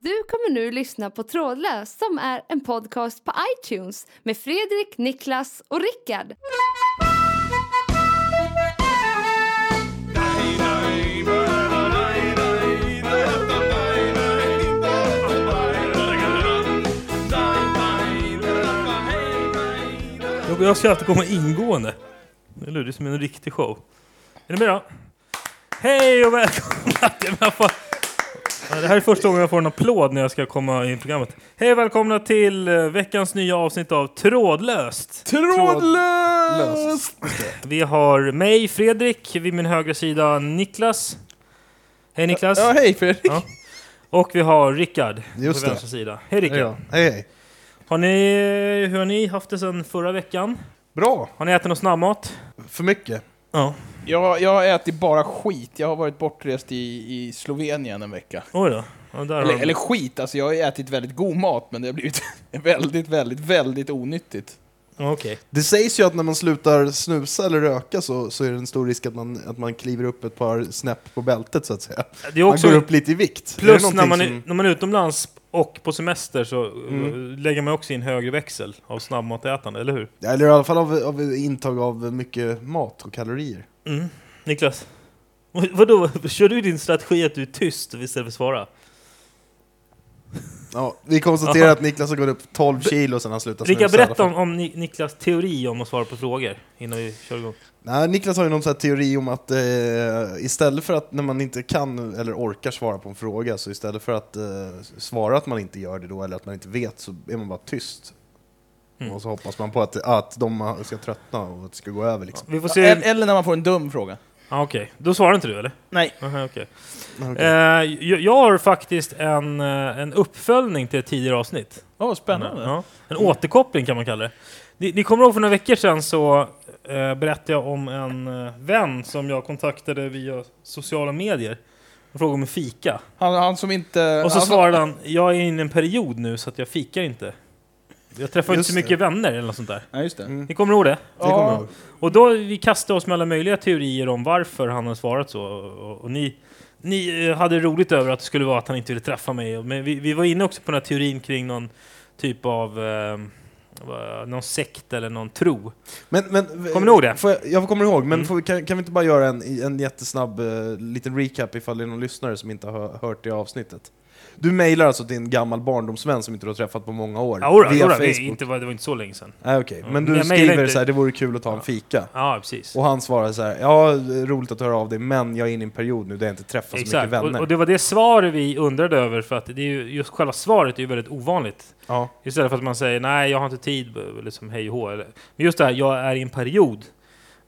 Du kommer nu lyssna på Trådlös som är en podcast på iTunes med Fredrik, Niklas och Rickard. Jo, Jag ska alltid komma ingående. Eller hur? Det är som en riktig show. Är ni med då? Hej och välkomna! till- Jag får- Ja, Det här är första gången jag får en applåd när jag ska komma in i programmet. Hej och välkomna till eh, veckans nya avsnitt av Trådlöst! Trådlöst! Vi har mig, Fredrik, vid min högra sida Niklas. Hej Niklas! Ja, hej Fredrik! Ja. Och vi har Rickard Just på det. vänstra sida. Hej Rickard! Ja, Hej, hej. Har ni, eh, hur har ni haft det sedan förra veckan? Bra! Har ni ätit någon snabbmat? För mycket. Ja. Jag, jag har ätit bara skit. Jag har varit bortrest i, i Slovenien en vecka. Oj då. Ja, där har Eller, de- eller skit, alltså jag har ju ätit väldigt god mat, men det har blivit väldigt, väldigt, väldigt onyttigt. Ja, Okej. Det sägs ju att när man slutar snusa eller röka så, så är det en stor risk att man, att man kliver upp ett par snäpp på bältet så att säga. Det är Man går också upp lite i vikt. Är plus det när man, är, någonting som- Mm. när man är utomlands och på semester så eh, lägger man också in högre växel av snabbmatätande, eller hur? Ja, Eller i alla fall av, av intag av mycket mat och kalorier. Mm. Niklas? Vad- Vadå, kör du din strategi att du är tyst istället för att svara? Ja, vi konstaterar Aha. att Niklas har gått upp 12 kilo sedan han slutade Rickard, snusa. i alla berätta fall. om, om Ni- Niklas teori om att svara på frågor innan vi kör igång. Nej, Niklas har ju någon sån här teori om att eh, istället för att när man inte kan eller orkar svara på en fråga så istället för att eh, svara att man inte gör det då eller att man inte vet så är man bara tyst. Mm. Och så hoppas man på att, att de ska tröttna och att det ska gå över liksom. Vi får Ja, se... el- Eller när man får en dum fråga. ah, Okej, då svarar inte du eller? Nej. Aha, okej. Men okej. Eh, jag, jag har faktiskt en, eh, en uppföljning till ett tidigare avsnitt. Åh, spännande. Ja, en återkoppling kan man kalla det. Ni, ni kommer ihåg för några veckor sedan så eh, berättade jag om en eh, vän som jag kontaktade via sociala medier och frågade om en fika. Han, han som inte... alltså, Och så han, som- svarade han, jag är inne i en period nu så att jag fikar inte. Jag träffar inte Just så mycket det. vänner eller något sånt där. Ja, just det. Mm. Ni kommer ihåg det? Det kommer Ja, jag Och då vi kastade oss med alla möjliga teorier om varför han har svarat så. Och, och ni, ni eh, hade roligt över att det skulle vara att han inte ville träffa mig. Men vi, vi var inne också på den här teorin kring någon typ av eh, vad- någon sekt eller någon tro. Men, men, Kommer ni ihåg det? Får jag, jag kommer ihåg, men Mm. får, vi- kan, kan vi inte bara göra en, en jättesnabb eh, liten recap ifall det är någon lyssnare som inte har hört det avsnittet? Du mejlar alltså din gammal barndomsvän som inte du har träffat på många år? Ja, ora, via ora, det, är Facebook? inte, var- det var inte så länge sedan. Nej, okej. men Men du jag mejlar skriver inte. så här, det vore kul att ta en fika. Ja, precis. Och han svarar så här, ja, det är roligt att höra av dig, men jag är inne i en period nu där jag inte träffar så Exakt. mycket Och, vänner. och det var det svar vi undrade över för att det är ju, just själva svaret är ju väldigt ovanligt. ja. Istället för att man säger nej, jag har inte tid, b- liksom hej och hå. eller- Men just det här, jag är i en period.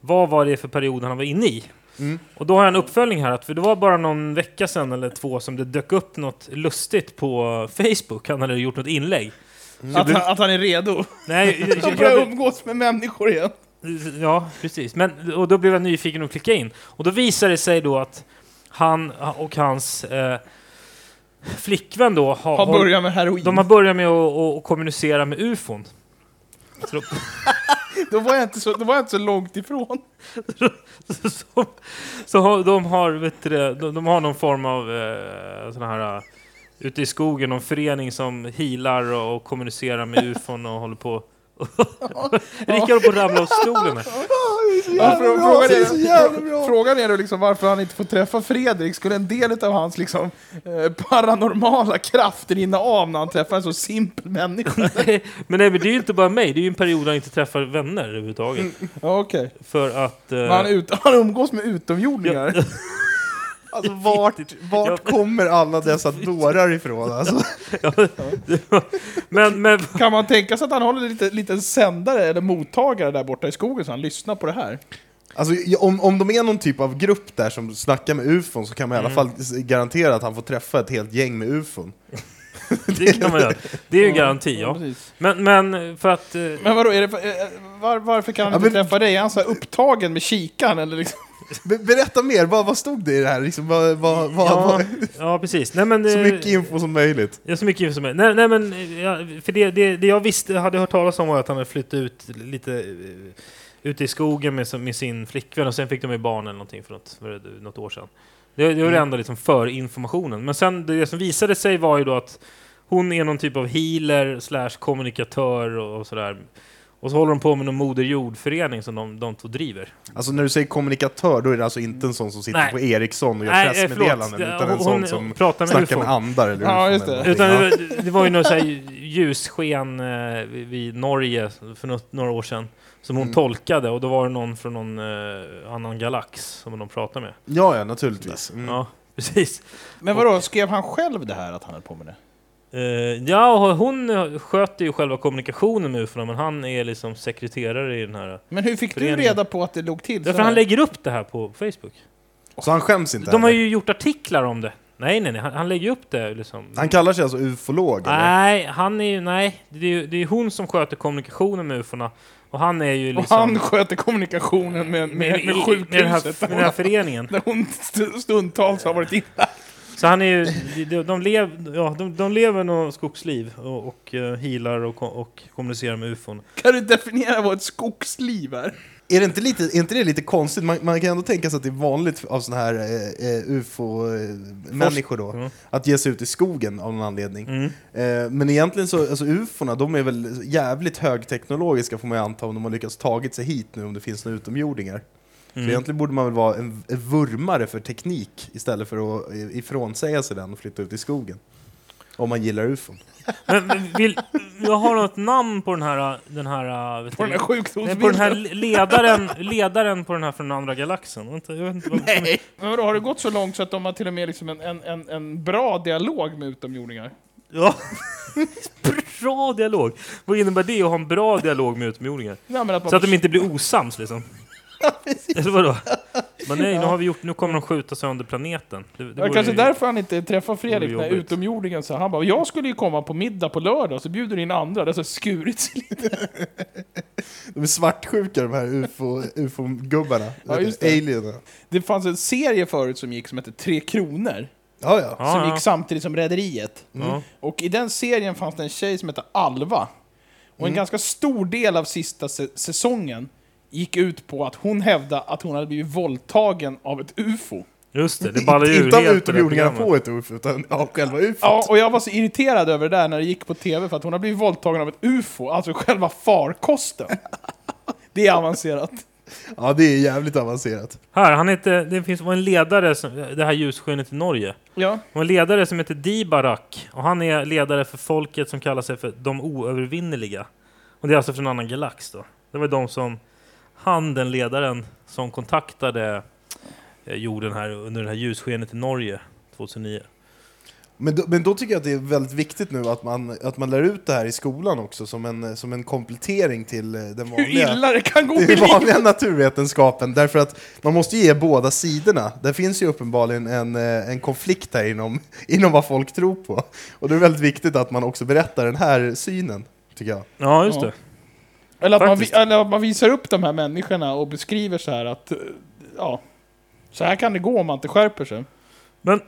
Vad var det för period han var inne i? mm. Och då har jag en uppföljning här, att för det var bara någon vecka sedan eller två som det dök upp något lustigt på Facebook. Han hade gjort något inlägg. att, han, att han är redo. Nej, jag- Han jag- börjar jag- umgås med människor igen. ja, precis. Men, och då blev jag nyfiken och klickade in. Och då visade det sig då att han och hans eh, flickvän då har, Han börjar med heroin. de har börjat med att, att, att kommunicera med ufon. Så- Då, var jag inte så, då var jag inte så långt ifrån. som, så har- de, har, vet du, det, de, de har någon form av eh, sån här eh, ute i skogen, någon förening som healar och, och kommunicerar med ufon och håller på Rickard håller på att ramla av stolen här. Ja, frå- alltså, frågan, det är så jävla är, bra! frågan är då liksom varför han inte får träffa Fredrik. Skulle en del av hans liksom, eh, paranormala krafter rinna av när han träffar en så simpel människa? Nej, men, nej, men det är ju inte bara mig, det är ju en period där jag inte träffar vänner Mm. överhuvudtaget. Ja, Okej. För att... eh, Men Han, är ut, han umgås med utomjordingar. Alltså vart, vart kommer alla dessa dårar ifrån? Alltså, men, men Kan man tänka sig att han håller en liten, liten sändare eller mottagare där borta i skogen så han lyssnar på det här? alltså, ja, om, om de är någon typ av grupp där som snackar med ufon så kan man i alla fall s- garantera att han får träffa ett helt gäng med ufon. det kan man göra. Det är ju en garanti, ja. precis. Men, men för att... eh, Men vadå, är det, för- eh, var, varför kan han Ja, inte men- träffa dig? Är han så här upptagen med kikaren eller liksom? Be- berätta mer, vad, vad stod det i det här? Liksom, vad, vad, vad, Ja, vad, ja, precis. Nej, men, så eh, mycket info som möjligt. Ja, så mycket info som möjligt. Nej, nej men, eh, ja, för det, det, det jag visste, hade hört talas om var att han hade flyttat ut lite uh, ute i skogen med, sin- med sin flickvän och sen fick de ju barn eller någonting för något, för något år sedan. Det, det Mm. var det enda liksom för informationen. Men sen det som visade sig var ju då att hon är någon typ av healer slash kommunikatör och, och sådär. Och så håller de på med någon Moder Jord-förening som de, de två driver. Alltså när du säger kommunikatör, då är det alltså inte en sån som sitter Nej. på Ericsson och gör Nej, eh, pressmeddelanden, förlåt. utan en Hon- sån hon som pratar med snackar UFO. med andar eller Ja, UFO just det. eller någonting. Utan Ja. det, var- det var ju något så här ljussken eh, vid- vid Norge för nå- några år sedan som hon Mm. tolkade och då var det någon från någon eh, annan galax som de pratade med. Ja, ja, naturligtvis. Mm. Ja, precis. Men vadå, skrev han själv det här att han höll på med det? Eh, ja, och hon eh, sköter ju själva kommunikationen med ufon men han är liksom sekreterare i den här. Men hur fick du Föreningen. reda på att det låg till så Därför han här? lägger upp det här på Facebook. Så han skäms inte De har heller. ju gjort artiklar om det. Nej, nej, nej, han, han lägger upp det liksom. Han kallar sig alltså ufolog? eller? Nej, han är ju, nej, det är ju det är hon som sköter kommunikationen med ufona. Och han är ju Och liksom... han sköter kommunikationen med, med, med, i- med den, här, sjukhuset. med den här föreningen. Där hon st- stundtals har varit in. Så han är ju, de, de, lev, ja, de, de lever något skogsliv och, och eh, healar och, ko- och kommunicerar med ufon. Kan du definiera vad ett skogsliv är? Är, det inte lite, är inte det lite konstigt? Man, man kan ändå tänka sig att det är vanligt av sådana här eh, ufo-människor eh, då, Mm. att ge sig ut i skogen av någon anledning. Mm. Eh, men egentligen så, alltså ufona, de är väl jävligt högteknologiska får man ju anta om de har lyckats tagit sig hit nu om det finns några utomjordingar. Så Mm. egentligen borde man väl vara en, en vurmare för teknik istället för att eh, ifrånsäga sig den och flytta ut i skogen. Om man gillar ufon. Men, men vill, jag har något namn på den här... Den här eh, vet På den här du- Nej, sjukdomsbilden? på den här ledaren, ledaren på den här från den andra galaxen. Jag vet inte- jag vet inte vad- Men vadå, har det gått så långt så att de har till och med liksom en, en, en, en bra dialog med utomjordingar? Ja. Bra dialog! Vad innebär det att ha en bra dialog med utomjordingar? Nej, men att man Så att de inte blir osams liksom? Eller vadå? Men nej, nu, har vi gjort, nu kommer de skjuta sönder planeten. Det, det Det vore kanske ju- därför han inte träffar Fredrik, vore när jobbigt. utomjordingen sa han bara ”Jag skulle ju komma på middag på lördag, så bjuder du in andra”. Det har så skurits lite. De är svartsjuka de här UFO, ufo-gubbarna. Ja, just det. Alienerna. Det fanns en serie förut som gick som hette Tre Kronor, Ja, ja. Ja, som ja. gick samtidigt som Rederiet. Mm. Ja. Och i den serien fanns det en tjej som hette Alva. Och en ganska stor del av sista sä- säsongen gick ut på att hon hävdade att hon hade blivit våldtagen av ett UFO. Just det, det ballar ju inte helt i av det här utomjordingarna programmet. på ett UFO, utan av själva UFO. Ja, och jag var så irriterad över det där när det gick på TV för att hon har blivit våldtagen av ett UFO, alltså själva farkosten. Det är avancerat. Ja, det är jävligt avancerat. Här, han heter, det finns var en ledare, som, det här ljusskenet i Norge. Ja. Det var en ledare som heter Dibarak och han är ledare för folket som kallar sig för de oövervinnerliga. Och det är alltså från en annan galax då. Det var de som, han den ledaren som kontaktade eh, jorden här under det här ljusskenet i Norge 2009. Men då, men då tycker jag att det är väldigt viktigt nu att man, att man lär ut det här i skolan också som en, som en komplettering till eh, den Hur vanliga, illa det kan gå i den livet! vanliga naturvetenskapen. Därför att man måste ge båda sidorna. Det finns ju uppenbarligen en, eh, en konflikt här inom, inom vad folk tror på. Och det är väldigt viktigt att man också berättar den här synen, tycker jag. Ja, just Ja. det. Eller att, man, vi- Faktiskt. eller att man visar upp de här människorna och beskriver så här att, eh, ja, så här kan det gå om man inte skärper sig. Men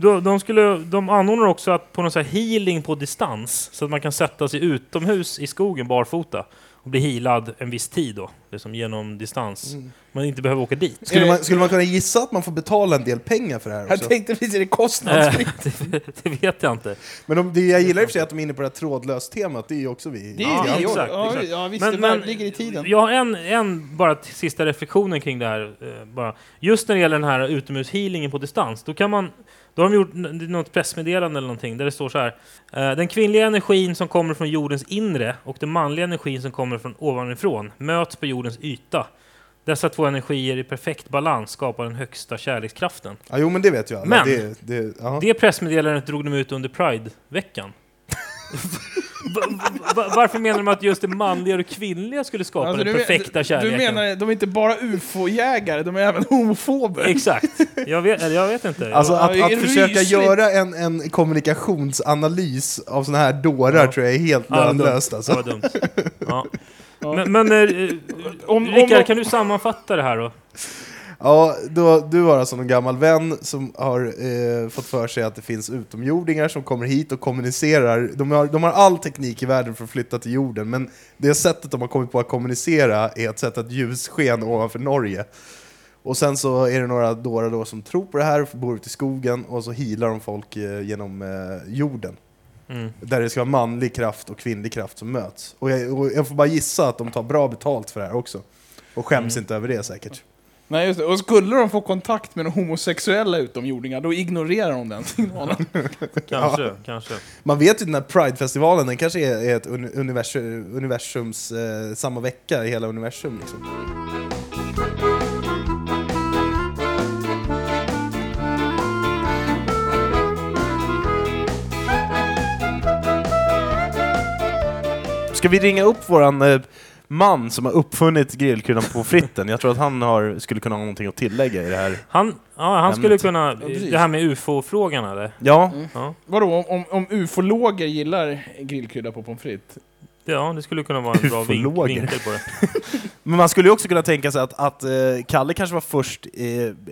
de, de, skulle, de anordnar också att på någon så här healing på distans så att man kan sätta sig utomhus i skogen barfota och bli healad en viss tid då, liksom genom distans. Man inte behöver åka dit. Skulle Eh, man, skulle man kunna gissa att man får betala en del pengar för det här Jag också? tänkte precis, är det Eh, kostnadsfritt? det, det vet jag inte. Men de, det jag gillar i och för sig att de är inne på det här trådlöst-temat, det är ju också vi. Det är Ja, ju vi exakt, ja, exakt. ja, visst, Men- det men- ligger i tiden. Jag har en, en bara t- sista reflektionen kring det här. Eh, bara. Just när det gäller den här utomhushealingen på distans, då kan man då har de gjort n- något pressmeddelande eller någonting där det står så här. eh, Den kvinnliga energin som kommer från jordens inre och den manliga energin som kommer från ovanifrån möts på jordens yta. Dessa två energier i perfekt balans skapar den högsta kärlekskraften. Ja, jo men det vet ju alla. Men- det, det, ja. Det pressmeddelandet drog de ut under Pride-veckan. Va- va- va- Varför menar de att just det manliga och det kvinnliga skulle skapa Alltså, den men- perfekta kärleken? Du menar, de är inte bara ufo-jägare, de är även homofober. Exakt. Jag vet, eller jag vet inte. Alltså jag, Ja, att, det är att försöka rysligt. göra en, en kommunikationsanalys av sådana här dårar Ja. tror jag är helt Ja, lönlöst det alltså. var dumt. Ja. Ja. Men, men eh, Om, Rickard, om, kan du sammanfatta det här då? Ja, du, du har alltså någon gammal vän som har eh, fått för sig att det finns utomjordingar som kommer hit och kommunicerar. De har, de har all teknik i världen för att flytta till jorden, men det sättet de har kommit på att kommunicera är ett sätt att ljussken ovanför Norge. Och sen så är det några dårar då som tror på det här, bor ute i skogen och så healar de folk eh, genom eh, jorden. Mm. Där det ska vara manlig kraft och kvinnlig kraft som möts. Och jag, och jag får bara gissa att de tar bra betalt för det här också. Och skäms inte över det säkert. Nej, just det. Och skulle de få kontakt med de homosexuella utomjordingar, då ignorerar de den signalen. Kanske, kanske. Man vet ju den här Pride-festivalen, den kanske är, är ett uni- universum, universums, eh, samma vecka i hela universum liksom. Ska vi ringa upp våran eh, man som har uppfunnit grillkryddan på fritten? Jag tror att han har, skulle kunna ha någonting att tillägga i det här. Han, ja, han Ämnet. skulle kunna... precis. Det här med UFO-frågan eller? Ja, Ja. Vadå, om- om, om ufologer gillar grillkrydda på pommes frites? ja, det skulle kunna vara en bra vink, Ufologer. vinkel på det. Men man skulle ju också kunna tänka sig att, att eh, Kalle kanske var först eh,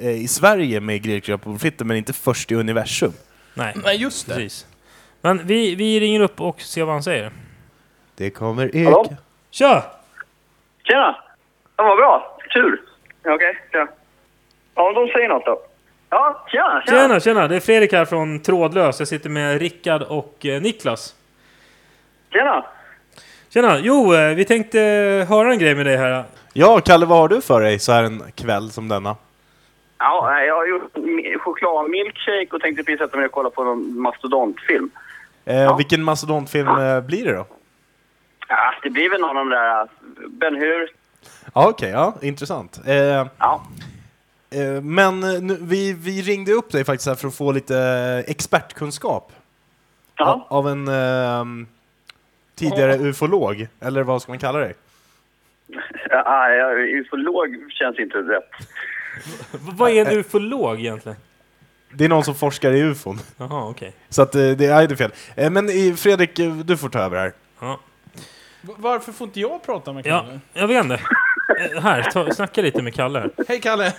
eh, i Sverige med grillkrydda på fritten, men inte först i universum. Nej, Nej, just det. precis. Men vi, vi ringer upp och ser vad han säger. Det kommer ek. Hallå? Tja! Tjena! Ja, vad bra. Tur. Ja, Okej, tja. Ja, de säger något då. Ja, tjena, tjena. Tjena, tjena! Det är Fredrik här från Trådlös. Jag sitter med Rickard och eh, Niklas. tjena. Tjena! Jo, eh, vi tänkte eh, höra en grej med dig här. Ja, Kalle, vad har du för dig så här en kväll som denna? Ja, nej, jag har gjort mi- chokladmilkshake och tänkte precis sätta mig och kolla på någon mastodontfilm. Eh, Vilken mastodontfilm eh, blir det då? Ja, det blir väl någon av de där eh, Ben Hur. Ja, okej, ja, intressant. Eh, Ja. eh, men eh, nu, vi, vi ringde upp dig faktiskt här för att få lite eh, expertkunskap av, Ja. av en ehm, tidigare ufolog, eller vad ska man kalla dig? Ja. Ja, jag är ufolog känns inte rätt. V- vad är en ufolog egentligen? Det är någon som forskar i ufon. Jaha, okej. Så att, eh, det, nej, det är fel. Eh, Men eh, Fredrik, eh, du får ta över här. Ja. V- Varför får inte jag prata med ja, Kalle? jag vet inte. Eh, Här, ta, snacka lite med Kalle här. Hej Kalle!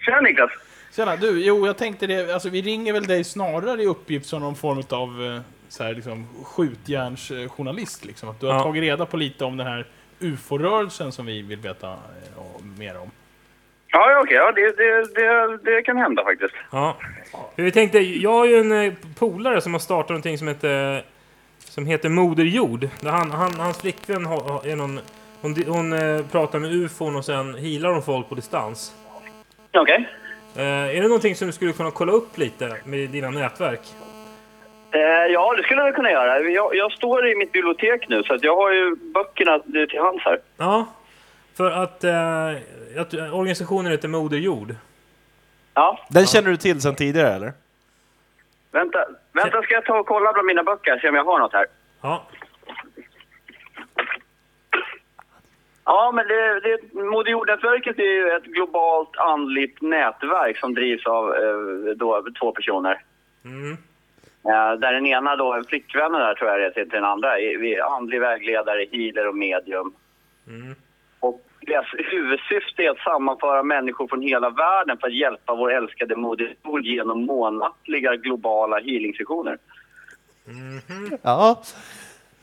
Tjena Niklas! Tjena, du, jo jag tänkte det, alltså vi ringer väl dig snarare i uppgift som någon form av eh, så här, liksom, skjutjärnsjournalist liksom. Att du har Ja. tagit reda på lite om den här UFO-rörelsen som vi vill veta eh, och- mer om. Ja, ja, okej. Ja, det, det, det, det kan hända faktiskt. Ja. För Vi tänkte, jag har ju en eh, polare som har startat någonting som heter, som heter Moder Jord. Där han, han, hans flickvän har, har- är någon, hon, hon eh, pratar med ufon och sen healar hon folk på distans. Okej. Eh, är det någonting som du skulle kunna kolla upp lite med dina nätverk? Eh, ja, det skulle jag kunna göra. Jag, jag står i mitt bibliotek nu så att jag har ju böckerna till hands här. Ja, för att, eh, att eh, organisationen heter Moder Jord. Ja, Den känner du till sedan tidigare eller? Vänta, vänta, ska jag ta och kolla bland mina böcker se om jag har något här? Ja. Ja, men det, det, Moder Jord-nätverket är ju ett globalt andligt nätverk som drivs av eh, då, två personer. Mm. Eh, där den ena då, flickvännen där tror jag det är till till den andra, är- vi är andlig vägledare, healer och medium. Mm. Och deras huvudsyfte är att sammanföra människor från hela världen för att hjälpa vår älskade Moder Jord genom månatliga globala healing-sessioner. Ja.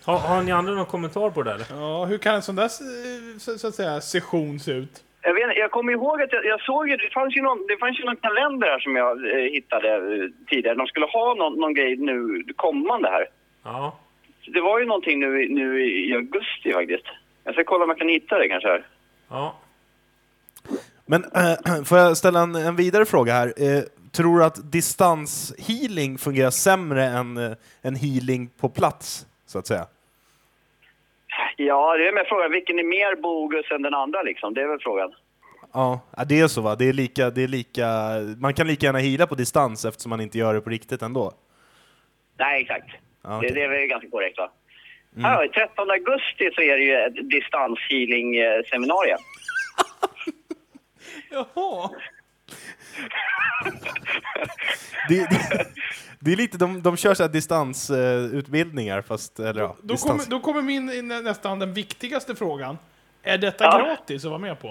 Har, har ni andra någon kommentar på det där, eller? Ja, hur kan en sån där eh, så, så att säga, session se ut? Jag, vet, inte, jag kommer ihåg att jag, jag såg ju, det fanns ju någon, det fanns ju någon kalender här som jag eh, hittade eh, tidigare. De skulle ha någon, någon grej nu kommande här. Ja. Det var ju någonting nu, i- nu i augusti faktiskt. Jag ska kolla om jag kan hitta det kanske här. Ja. Men äh, får jag ställa en, en vidare fråga här? Eh, tror du att distanshealing fungerar sämre än, eh, än healing på plats, så att säga? Ja, det är med frågan. Vilken är mer bogus än den andra liksom? Det är väl frågan. Ja, ja, det är så va? Det är lika, det är lika, man kan lika gärna heala på distans eftersom man inte gör det på riktigt ändå. Nej, exakt. Ja, okej. Mm. det, det är väl ganska korrekt va? Ja, 13 augusti så är det ju ett eh, distanshealing-seminarium. Jaha! Det, det, det är lite, de, de kör så här distansutbildningar fast, eller ja, Då distans. kommer, då kommer min eh, nä- nästan den viktigaste frågan. Är detta Ja. gratis att vara med på?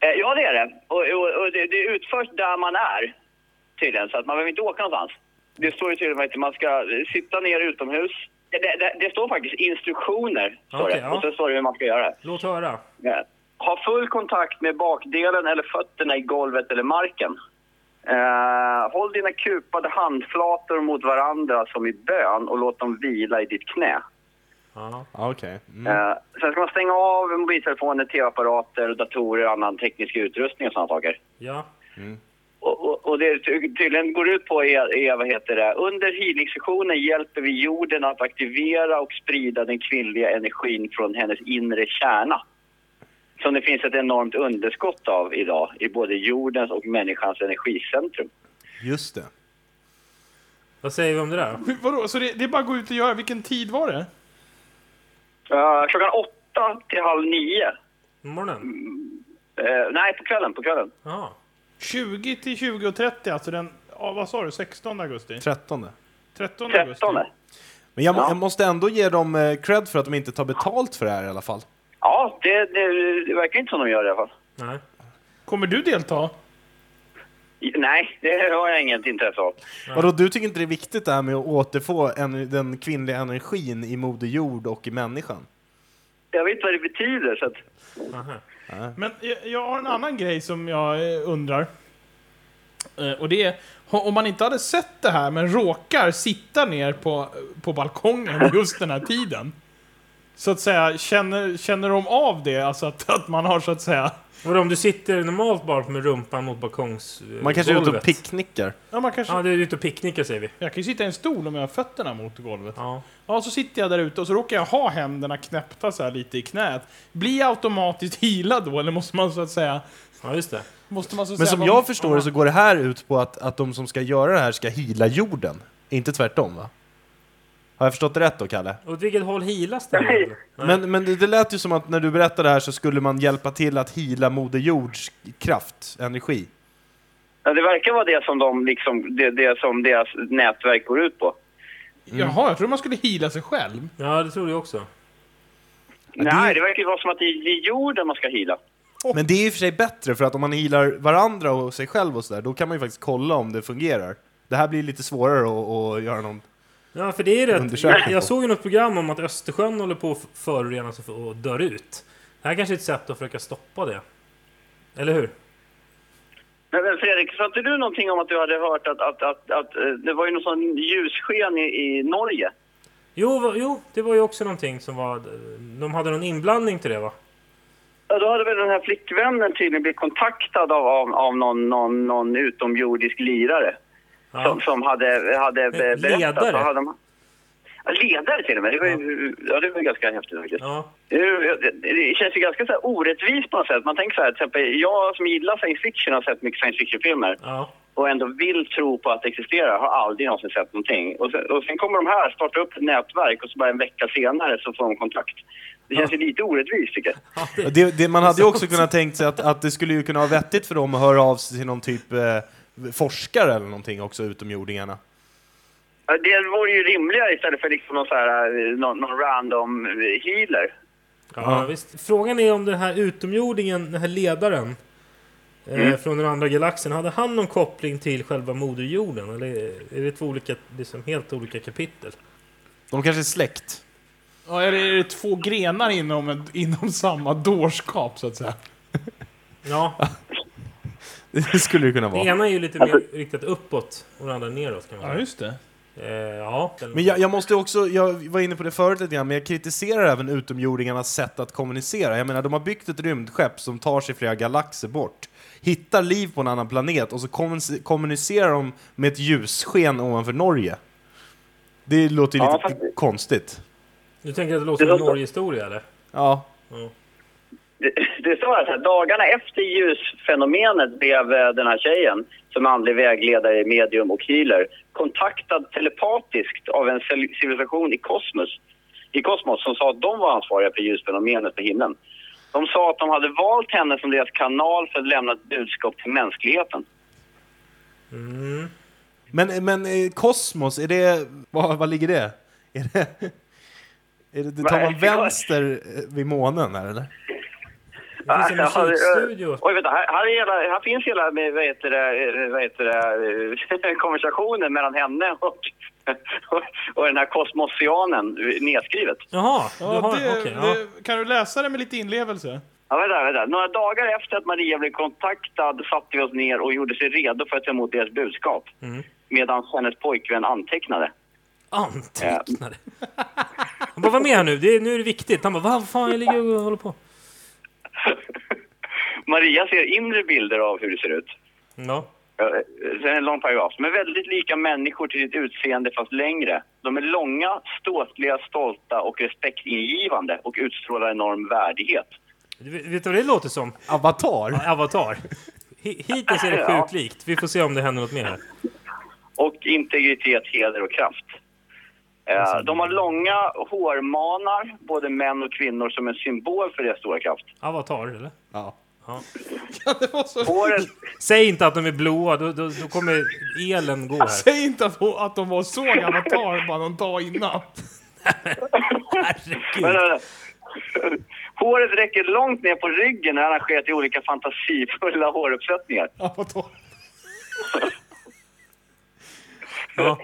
Eh, ja, det är det. Och, och, och det, det utförs där man är, tydligen. Så att man behöver inte åka någonstans. Det står ju tydligen att man ska eh, sitta ner utomhus. Det, det, det står faktiskt instruktioner, står Okej, det. ja. Och så står det hur man ska göra. Låt höra. Ja. Ha full kontakt med bakdelen eller fötterna i golvet eller marken. Eh, håll dina kupade handflator mot varandra som i bön och låt dem vila i ditt knä. Ja, Okej. Mm. Eh, sen ska man stänga av mobiltelefoner, tv-apparater, datorer och annan teknisk utrustning och sådana saker. Ja. Och, och, och det ty- tydligen går ut på är, är vad heter det, under healingsessionen hjälper vi jorden att aktivera och sprida den kvinnliga energin från hennes inre kärna. Som det finns ett enormt underskott av idag i både jordens och människans energicentrum. Just det. Vad säger vi om det där? Hur- Vadå, så det, det är bara att gå ut och göra? Vilken tid var det? Eh, klockan åtta till halv nio. Morgonen? Eh, nej, på kvällen, på kvällen. Jaha. 20 till 20 och 30, alltså den... Ja, vad sa du? 16 augusti? 13. 13 augusti? 13. Men jag, må- Ja. jag måste ändå ge dem eh, cred för att de inte tar betalt för det här i alla fall. Ja, det, det, det verkar inte som de gör det i alla fall. Nej. Kommer du delta? Nej, det har jag inget intresse av. Vadå, du tycker inte det är viktigt det här med att återfå en, den kvinnliga energin i Moder Jord och i människan? Jag vet vad det betyder, så att... Aha. Men jag, jag har en annan grej som jag eh, undrar. Eh, Och det är, ha- om man inte hade sett det här men råkar sitta ner på, på balkongen just den här tiden. Så att säga, känner, känner de av det? Alltså att, att man har så att säga... Vadå, om du sitter normalt bara med rumpan mot balkongs... eh, Man kanske är ute och golvet? picknickar. Ja, man kanske, Ja, du är ute och picknickar säger vi. Jag kan ju sitta i en stol om jag har fötterna mot golvet. Ja. Ja, så sitter jag där ute och så råkar jag ha händerna knäppta så här lite i knät. Blir jag automatiskt healad då, eller måste man så att säga... Ja, just det. Måste man så att Men säga som vara- jag förstår det så går det här ut på att, att de som ska göra det här ska hila jorden. Inte tvärtom va? Har jag förstått det rätt då, Kalle? Åt vilket håll healas det? Nej. Men, men det, det lät ju som att när du berättade det här så skulle man hjälpa till att hila Moder Jords kraft, energi. Ja, det verkar vara det som, de, liksom, det, det som deras nätverk går ut på. Jaha, Mm. jag trodde man skulle heala sig själv. Ja, det tror jag också. Nej, det verkar ju vara som att det är det är jorden man ska hila. Men det är i och för sig bättre, för att om man healar varandra och sig själv och sådär, då kan man ju faktiskt kolla om det fungerar. Det här blir lite svårare att, att göra någon... Ja, för det är rätt. Undersökning Jag, på. jag såg ju något program om att Östersjön håller på att förorenas och f- och dör ut. Det här kanske är ett sätt att försöka stoppa det. Eller hur? Men, men Fredrik, sa inte du någonting om att du hade hört att, att, att, att eh, det var ju någon sån ljussken i, i Norge? Jo, va- jo, det var ju också någonting som var... De hade någon inblandning till det va? Ja, då hade väl den här flickvännen tydligen blivit kontaktad av, av, av någon, någon, någon utomjordisk lirare. Ja. Som, som hade, hade be- berättat. Ledare. Vad hade de... ja, ledare till och med. Det var ju ja, det var ju ganska häftigt faktiskt. Ja. Eh, Det- Det det känns ju ganska så här orättvist på något sätt. Man tänker så här, till exempel, jag som gillar science fiction har sett mycket science fiction-filmer Ja. och ändå vill tro på att det existerar, har aldrig någonsin sett någonting. Och sen, och sen kommer de här, starta upp ett nätverk och så bara en vecka senare så får de kontakt. Det känns ju lite orättvist tycker jag. Ja, Och det, Det, det, man hade ju också kunnat tänkt sig att, att det skulle ju kunna vara vettigt för dem att höra av sig till någon typ eh, forskare eller någonting också, utomjordingarna. Ja, Det vore ju rimligare istället för liksom någon, så här, eh, någon, någon random eh, healer. ja, visst. Frågan är om den här utomjordingen, den här ledaren eh, från den andra galaxen, hade han någon koppling till själva moderjorden? Eller är det två olika, liksom helt olika kapitel? De kanske är släkt. Ja, eller är det två grenar inom, en, inom samma dårskap, så att säga? Ja, Det skulle det kunna det vara. ena är ju lite Alltså- mer riktat uppåt och det andra neråt kan man säga. just det. Eh, ja, den, Men jag, jag måste också, jag var inne på det förut lite grann, men jag kritiserar även utomjordingarnas sätt att kommunicera. Jag menar, de har byggt ett rymdskepp som tar sig flera galaxer bort, hittar liv på en annan planet och så kommunic- kommunicerar de med ett ljussken ovanför Norge. Det låter ju Ja, lite faktiskt. konstigt. Du tänker att det låter Det som en låter- Norgehistoria eller? Ja, Det, det står här, så här, dagarna efter ljusfenomenet blev eh, den här tjejen, som är andlig vägledare i medium och healer, kontaktad telepatiskt av en cel- civilisation i kosmos, i kosmos som sa att de var ansvariga för ljusfenomenet på himlen. De sa att de hade valt henne som deras kanal för att lämna ett budskap till mänskligheten. Men, men eh, kosmos, är det... Vad, vad ligger det? Är det, är det, det tar man Nej, det går- vänster eh, vid månen här eller? Det finns en Ja, alltså, ja, ja. musikstudio. Oj, vänta, här, här, är hela, här finns hela eh, vad heter det, eh, vad heter det, eh, konversationen mellan henne och, och, och den här kosmosianen eh, nedskrivet. Jaha, du Ja, har, det, okej, ja. det, kan du läsa det med lite inlevelse? Ja, vänta, vänta. Några dagar efter att Maria blev kontaktad satte vi oss ner och gjorde sig redo för att ta emot deras budskap. Mm. Medan hennes pojkvän antecknade. Antecknade. Han bara, vad menar du? Det är, nu är det viktigt. Han bara, vad fan, jag ligger och håller på. Maria ser inre bilder av hur det ser ut. Ja. Eh, Sen är det en lång paragraf. De är väldigt lika människor till sitt utseende fast längre. De är långa, ståtliga, stolta och respektingivande och utstrålar enorm värdighet. Du Vet vet du vad det låter som? Avatar? Avatar. Hi- Hittills är det Ja. sjukt likt. Vi får se om det händer något mer här. och integritet, heder och kraft. Eh, de har långa hårmanar, både män och kvinnor, som en symbol för deras stora kraft. Avatar, eller? Ja. Det var så... Håret, Säg inte att de är blåa, då, då, då kommer elen gå här. Säg inte att, hon- att de var så avatar bara någon dag innan. men, Herregud. eh, håret räcker långt ner på ryggen när arrangerat i olika fantasifulla håruppsättningar. Avatar. Ja.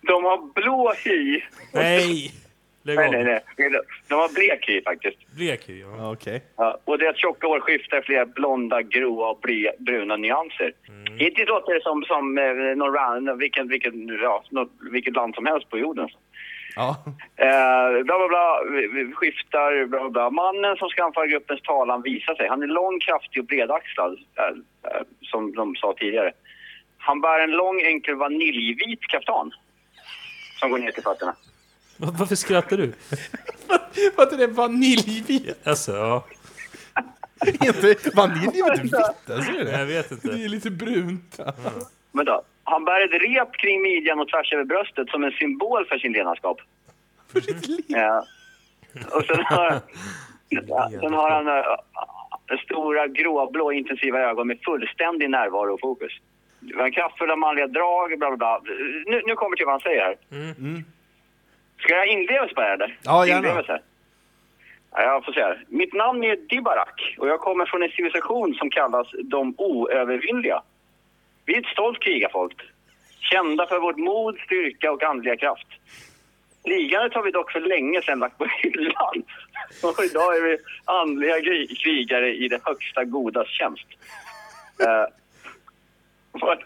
De har blå hy. Nej! Lägg Nej, nej, av. nej. De har blek hy faktiskt. Blek hy, ja. Okej. Ja, och deras tjocka hår skiftar i flera blonda, gråa och ble, bruna nyanser. Hittills låter det som, som eh, någon, ran- vilken, vilken, ja, något, vilket land som helst på jorden. Ja. Eh, bla, bla, bla, vi- vi skiftar, bla, bla, bla. Mannen som ska anföra gruppens talan visar sig. Han är lång, kraftig och bredaxlad, eh, eh, som de sa tidigare. Han bär en lång, enkel vaniljvit kaftan som går ner till fötterna. Va- Varför skrattar du? För att det är vaniljvit. Alltså, ja. Inte, vanilj är väl inte vitt? Alltså, är det? Jag vet inte. Det är lite brunt. Men då, han bär ett rep kring midjan och tvärs över bröstet som en symbol för sin ledarskap. För sitt liv. Ja. Och sen har, ja, sen har han eh, stora gråblå intensiva ögon med fullständig närvaro och fokus. Det var en Kraftfulla manliga drag, bla bla bla. Nu, nu kommer till vad han säger här. Ska jag inlevelse på det här eller? Mm. Ja, gärna. Inlevelse. Ja, jag får se här. Mitt namn är Dibarak och jag kommer från en civilisation som kallas de oövervinnliga. Vi är ett stolt krigarfolk. Kända för vårt mod, styrka och andliga kraft. Krigandet har vi dock för länge sedan lagt på hyllan. Och idag är vi andliga gri- krigare i det högsta godas tjänst. Eh, vårt,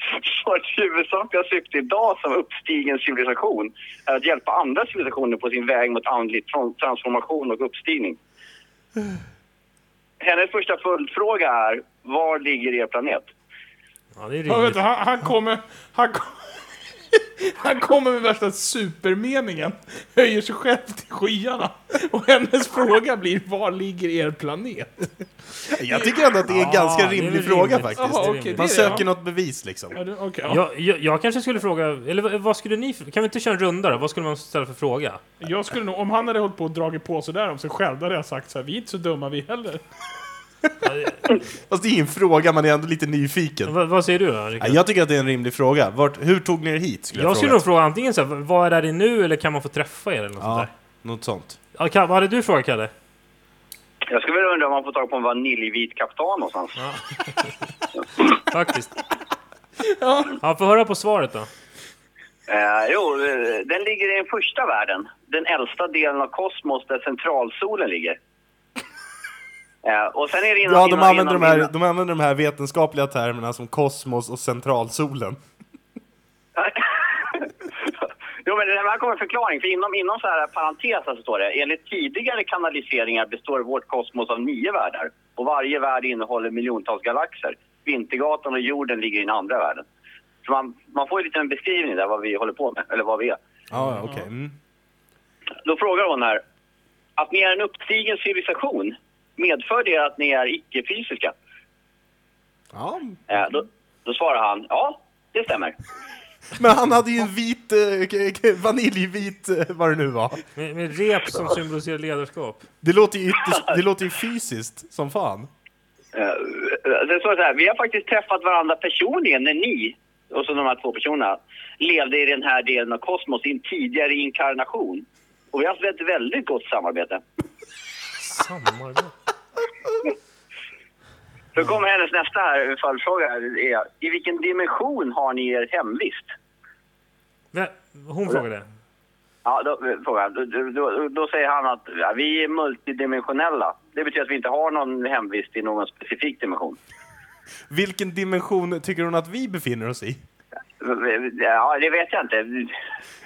vårt huvudsakliga syfte idag som uppstigen civilisation är att hjälpa andra civilisationer på sin väg mot andlig tran- transformation och uppstigning. Hennes första följdfråga är, var ligger er planet? Ja, det är Ja, vänta, rimligt. han, han kommer... Han, kom- han kommer med värsta supermeningen. Höjer sig själv till skyarna. Och hennes fråga blir var ligger er planet? Jag tycker ändå att det är en ganska Ja, det är väl rimlig fråga rimligt. faktiskt. Jaha, det är okej. rimligt. det är Man det, ja. söker något bevis liksom. Ja, du- okej, ja. Jag, jag, jag kanske skulle fråga, eller vad- vad skulle ni, kan vi inte köra en runda då? Vad skulle man ställa för fråga? Jag skulle nog, om han hade hållit på och dragit på sig där om sig själv, då hade jag sagt så här, vi är inte så dumma vi heller. Fast det är ju en fråga, man är ändå lite nyfiken. Vad- vad säger du då, Rickard? Ja, Jag tycker att det är en rimlig fråga. Vart, hur tog ni er hit? Skulle jag, Jag skulle nog fråga antingen så här, vad är där i nu eller kan man få träffa er eller något sånt Ja, där? något sånt. Ja, Kalle, vad hade du frågat Kalle? Jag skulle vilja undra om man får tag på en vaniljvit kaptan någonstans. Faktiskt. Ja, få höra på svaret då. Eh, jo, eh, den ligger i den första världen. Den äldsta delen av kosmos där centralsolen ligger. Eh, och sen är det innan, Ja, de innan, använder de, innan, här, innan- de använder de här vetenskapliga termerna som kosmos och centralsolen. Jo, men det här kommer en förklaring. För inom, inom så här parenteser så står det enligt tidigare kanaliseringar består vårt kosmos av nio världar. Och varje värld innehåller miljontals galaxer. Vintergatan och jorden ligger i den andra världen. Så man, man får ju lite en beskrivning där vad vi håller på med, eller vad vi är. Ja, ja, okej. Mm. Då frågar hon här. Att ni är en uppstigen civilisation, medför det att ni är icke-fysiska? Ja. Eh, då, då svarar han, ja, det stämmer. Men han hade ju en vit, eh, k- k- vaniljvit, eh, vad det nu var. Med, med rep som symboliserar ledarskap. Det låter ju, ytterst, det låter ju fysiskt som fan. Eh, Det står så här, vi har faktiskt träffat varandra personligen när ni, och så de här två personerna, levde i den här delen av kosmos i en tidigare inkarnation. Och vi har haft ett väldigt gott samarbete. Samarbete. Då kommer hennes nästa här, följdfråga. här, är, I vilken dimension har ni er hemvist? Vä- Hon frågade. Ja, då, frågar, då, då, då säger han att ja, vi är multidimensionella. Det betyder att vi inte har någon hemvist i någon specifik dimension. Vilken dimension tycker hon att vi befinner oss i? Ja, det vet jag inte.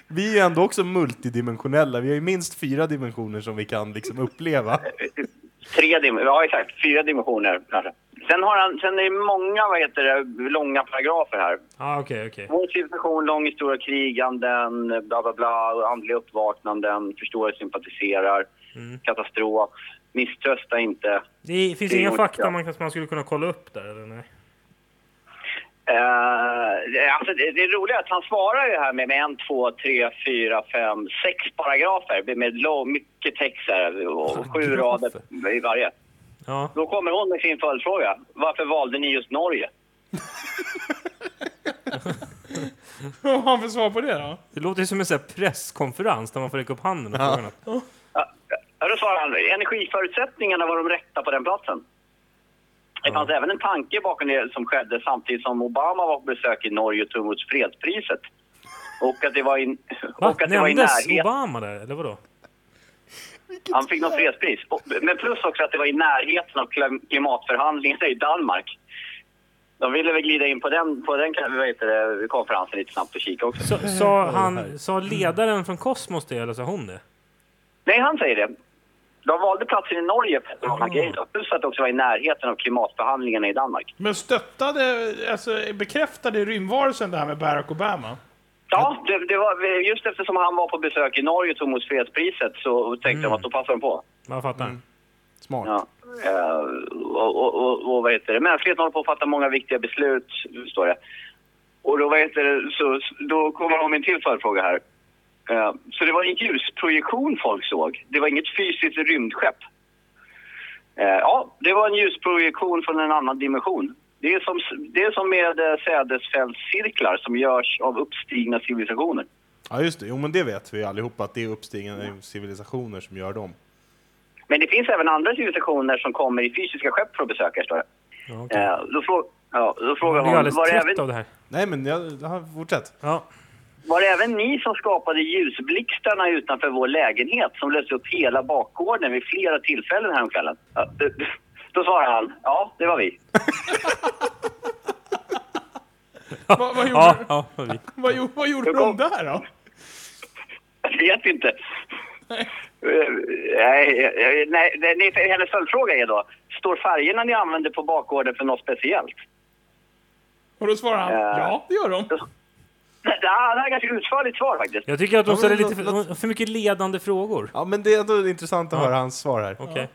Vi är ju ändå också multidimensionella. Vi har ju minst fyra dimensioner som vi kan liksom uppleva. Tre dimensioner, ja exakt. Fyra dimensioner kanske. Sen, har han, sen är det många vad heter det, långa paragrafer här. Ah, okej, okej. Vår civilisation, lång historia, kriganden, bla bla bla, andliga uppvaknanden, förstår och sympatiserar, katastrof, misströsta inte. Det finns Det är inga ju- fakta ja. man, kan- man skulle kunna kolla upp där, eller nej? Eh, det- alltså det, det roliga är att han svarar ju här med, med en, två, tre, fyra, fem, sex paragrafer med- med lång, mycket text här och sju rader Paragrafer. i varje. Ja. Då kommer hon med sin följdfråga. Varför valde ni just Norge? Vad har han för svar på det då? Det låter ju som en sån här presskonferens där man får räcka upp handen och Ja. fråga något. Ja, då svarar han, energiförutsättningarna var de rätta på den platsen. Det fanns även en tanke bakom det som skedde samtidigt som Obama var på besök i Norge och tog emot fredspriset. Och att det var i, Va? och att det var i Nämndes närheten. Obama där, eller vadå? Han fick något fredspris. Och- Men plus också att det var i närheten av klim- klimatförhandlingarna i Danmark. De ville väl glida in på den, på den vad heter det, konferensen lite snabbt och kika också. Så, sa, han, sa ledaren från Kosmos det, eller sa hon det? Nej, han säger det. De valde platsen i Norge för att det var den här grejen då. Plus att det också var i närheten av klimatförhandlingarna i Danmark. Men stöttade, alltså bekräftade rymdvarelsen det här med Barack Obama? Ja, det, det var, just eftersom han var på besök i Norge och tog emot fredspriset så tänkte de att då passar de på. Jag fattar. Mm. Smart. Ja. Eh, och, och, och, och vad heter det? Mänskligheten håller på att fatta många viktiga beslut, står det. Och då, vad heter det? Så, då kommer de med en till förfråga här. Eh, så det var en ljusprojektion folk såg. Det var inget fysiskt rymdskepp. Eh, ja, det var en ljusprojektion från en annan dimension. Det är som, det är som med eh, sädesfältscirklar som görs av uppstigna civilisationer. Ja, just det. Jo, men det vet vi ju allihopa att det är uppstigande civilisationer som gör dem. Men det finns även andra civilisationer som kommer i fysiska skepp för att besöka, står det. Ja, okay. Eh, då, frå- ja, då frågar Jag blir hon, alldeles var det trött även av det här. Nej, men jag, ja, fortsätt. Ja. Var det även ni som skapade ljusblixtarna utanför vår lägenhet som löste upp hela bakgården vid flera tillfällen häromkvällen? Ja, d- d- Då svarar han, ja, det var vi. Vad, vad, gjorde, Ja, ja, vad vi. vad, gjo- vad gjorde de där då? Jag vet inte. Eh, Nej, eh, nej, nej, nej, hennes följdfråga är då, står färgerna ni använder på bakgården för något speciellt? Och då svarar han, Eh. ja det gör de. Det det här är ett ganska utförligt svar faktiskt. Jag tycker att de men ställer låt- lite för, låt- för mycket ledande frågor. Ja, men det är ändå intressant att höra hans svar här. Okej.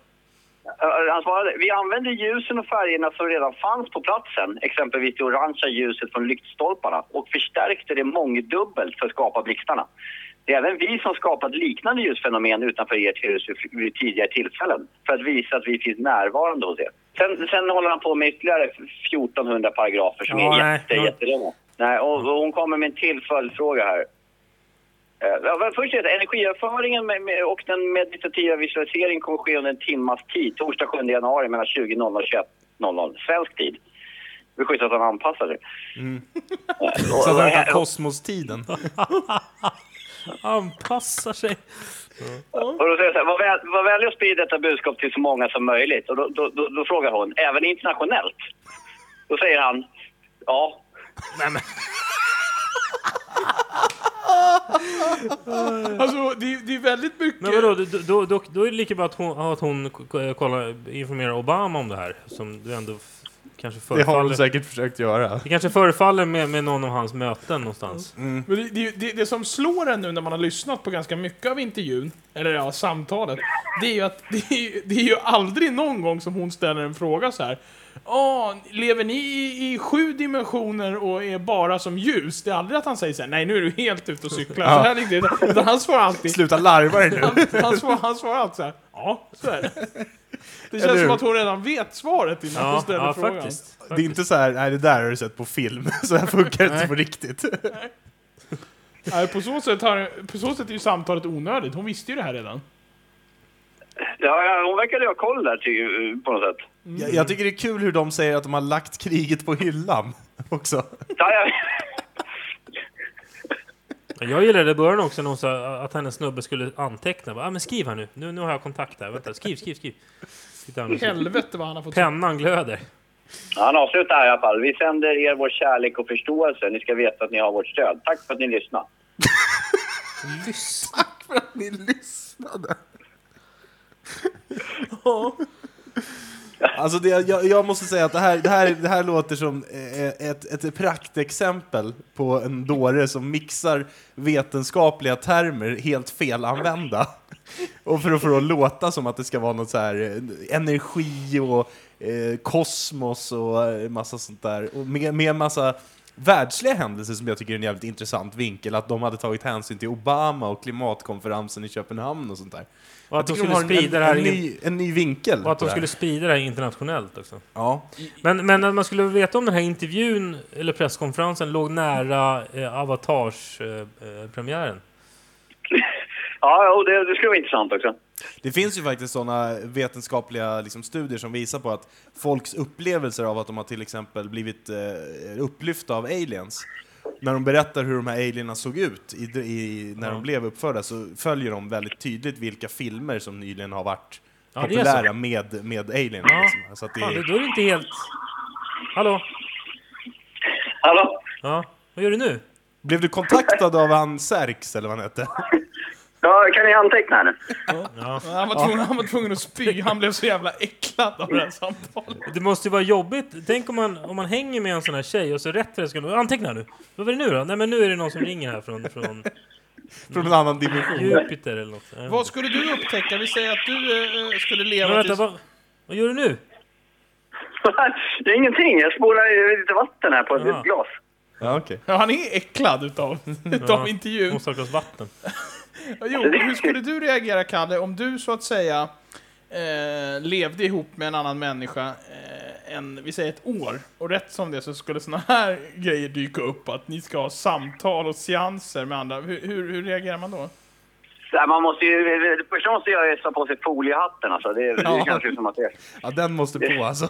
Eh, Han svarade, vi använder ljusen och färgerna som redan fanns på platsen, exempelvis det orangea ljuset från lyktstolparna, och förstärkte det mångdubbelt för att skapa blixtarna. Det är även vi som skapat liknande ljusfenomen utanför ert hus vid- vid tidigare tillfällen, för att visa att vi finns närvarande hos er. Sen, sen håller han på med ytterligare 1400 paragrafer som Ja, är nej, jätte, ja. jättelånga. Nej, och, och hon kommer med en till följdfråga här. Eh, Ja, men först är det energiöverföringen med, med, och den meditativa visualiseringen kommer ske under en timmas tid, torsdag 7 januari mellan 20.00 och 21.00 svensk tid. Det är schysst att han anpassar det. Eh, och- Så att och- han tar kosmostiden. Anpassar sig. Och då säger jag så här, var, väl, var vänlig och sprid detta budskap till så många som möjligt. Och då, då, då, då frågar hon, även internationellt? Då säger han, ja. Alltså det, är- det är väldigt mycket... Men vadå, då, då, då, då är det lika bra att hon, att hon k- kollar, informerar Obama om det här. Som du ändå f- kanske Det har hon förefaller... säkert försökt göra. Det kanske förefaller med, med någon av hans möten någonstans. Mm. Men det, det, det, det som slår en nu när man har lyssnat på ganska mycket av intervjun, eller ja, samtalet, det är ju att det är, ju- det är ju aldrig någon gång som hon ställer en fråga så här. Ja, lever ni i, i sju dimensioner och är bara som ljus? Det är aldrig att han säger så här, nej nu är du helt ute och cyklar. Så här ligger det. Utan han svarar alltid, Sluta larva dig nu! han, han, svarar, han svarar alltid så här, ja, så är det. Det känns hur? som att hon redan vet svaret innan hon Ja, ställer ja frågan. faktiskt. Det är inte så här, nej det där har du sett på film, så här funkar det inte på riktigt. Nej, på, så sätt har, på så sätt är ju samtalet onödigt. Hon visste ju det här redan. ja, ja hon verkade ha koll där till, på något sätt. Jag, jag tycker det är kul hur de säger att de har lagt kriget på hyllan också. Ja, ja. Jag gillade i början också när hon sa att hennes snubbe skulle anteckna. Bara, ah, men skriv här nu. nu. Nu har jag kontakt här. Vänta, skriv, skriv, skriv. Titta, han- Helvete vad han har fått... Pennan glöder. Ja, Han avslutar här i alla fall. Vi sänder er vår kärlek och förståelse. Ni ska veta att ni har vårt stöd. Tack för att ni lyssnade. Tack för att ni lyssnade! Alltså det, jag, jag måste säga att det här, det här, det här låter som eh, ett, ett praktexempel på en dåre som mixar vetenskapliga termer helt felanvända. Och för att få det att låta som att det ska vara något så här eh, energi och eh, kosmos och eh, massa sånt där. Och med, med en massa världsliga händelser som jag tycker är en jävligt intressant vinkel. Att de hade tagit hänsyn till Obama och klimatkonferensen i Köpenhamn och sånt där. Och att de Jag tycker skulle har en- sprida det här en, en, in- ny, en ny vinkel. Och att de på det här. skulle sprida det här internationellt också. Ja. Men, men att man skulle veta om den här intervjun eller presskonferensen låg nära eh, Avatars-premiären. Eh, premiären. Ja, och det, det skulle vara intressant också. Det finns ju faktiskt sådana vetenskapliga liksom, studier som visar på att folks upplevelser av att de har till exempel blivit eh, upplyfta av aliens, när de berättar hur de här alienerna såg ut i, i, när de blev uppförda så följer de väldigt tydligt vilka filmer som nyligen har varit Ja, det är så. populära med, med alien. Ja. Liksom. Så att det Fan, är, då är det inte helt... Hallå? Hallå? Ja, vad gör du nu? blev du kontaktad av han Serx eller vad han hette? Ja, kan ni anteckna här nu? Ja. Han var, tvungen, han var tvungen att spy. Han blev så jävla äcklad av det här samtalet. Det måste ju vara jobbigt. Tänk om man, om man hänger med en sån här tjej och så rätt för det ska Anteckna nu! Vad var det nu då? Nej men nu är det någon som ringer här från, från Från en annan dimension. Jupiter eller något. Jag vet Vad inte. skulle du upptäcka? Vi säger att du eh, skulle Men leva vänta, tills... vad, vad gör du nu? det är ingenting. Jag spolar ju lite vatten här på ett Ja. glas. Ja, okay. Ja, han är äcklad utav, utav Ja, intervjun. Måste ha ett glas vatten. Jo, hur skulle du reagera, Kalle, om du så att säga eh, levde ihop med en annan människa eh, en, vi säger ett år, och rätt som det så skulle såna här grejer dyka upp, att ni ska ha samtal och seanser med andra. Hur, hur, hur reagerar man då? Så här, man måste ju, det första man måste göra är att ta på sig foliehatten. Alltså. Det, det är Ja. kanske som att det, ja, den måste på alltså.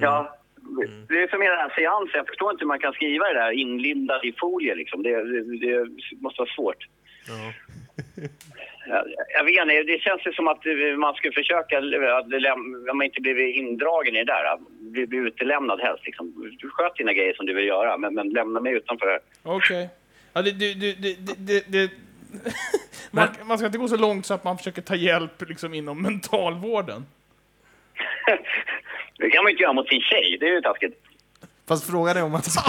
ja, det är som hela den här seansen. Jag förstår inte hur man kan skriva det där inlindad i folie. Liksom. Det, det, det måste vara svårt. Ja. Jag, jag vet inte, det känns ju som att eh, man skulle försöka eh, att läm- att man inte blir indragen i det där. eh, Bli, bli utelämnad helst. Liksom. Du sköt dina grejer som du vill göra, men, men lämna mig utanför. här. Okej. Ja, det, det, det, det, det, det. Man, man ska inte gå så långt så att man försöker ta hjälp liksom, inom mentalvården. Det kan man ju inte göra mot sin tjej, det är ju taskigt. Fast frågan är om man ska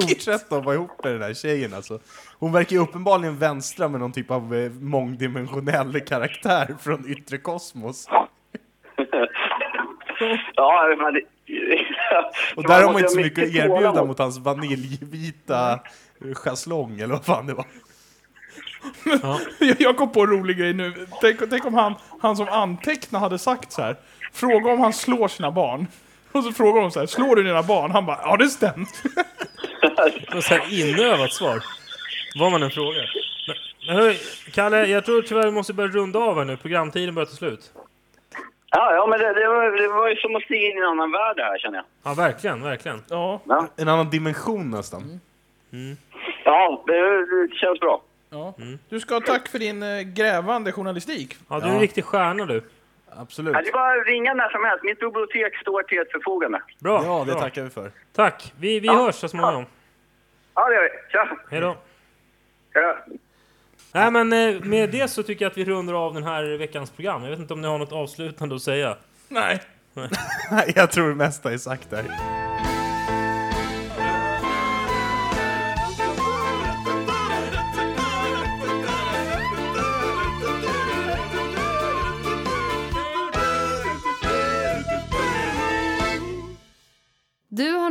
fortsätta att vara ihop med den här tjejen alltså. Hon verkar ju uppenbarligen vänstra med någon typ av eh, mångdimensionell karaktär från yttre kosmos. Ja, men det... Och där har man inte så måste mycket att ha erbjuda tålamod. mot hans vaniljvita eh, schäslong eller vad fan det var. Jag, jag kom på en rolig grej nu. Tänk, tänk om han, han som antecknade hade sagt så här. Fråga om han slår sina barn. Och så frågar de så här, slår du dina barn? Han bara, ja det stämmer. Det var så här inövat svar. Vad man än frågar. Men, men hörru, Kalle, jag tror tyvärr vi måste börja runda av här nu. Programtiden börjar ta slut. Ja, ja, men det, det, var, det var ju som att stiga in i en annan värld det här, känner jag. Ja, verkligen, verkligen. Ja, En annan dimension nästan. Ja, det, det känns bra. ja. Du ska ha tack för din eh, grävande journalistik. Ja, du är en Ja. riktig stjärna du. Absolut. Ja, det är bara att ringa när som helst. Mitt bibliotek står till ert förfogande. Bra. Ja, det bra. tackar vi för. Tack. Vi, vi hörs så småningom. Ja, det gör vi. Tja! Hej då. Ja. Nej, men eh, med det så tycker jag att vi rundar av den här veckans program. Jag vet inte om ni har något avslutande att säga. Nej. Nej, Jag tror det mesta är sagt där. Du har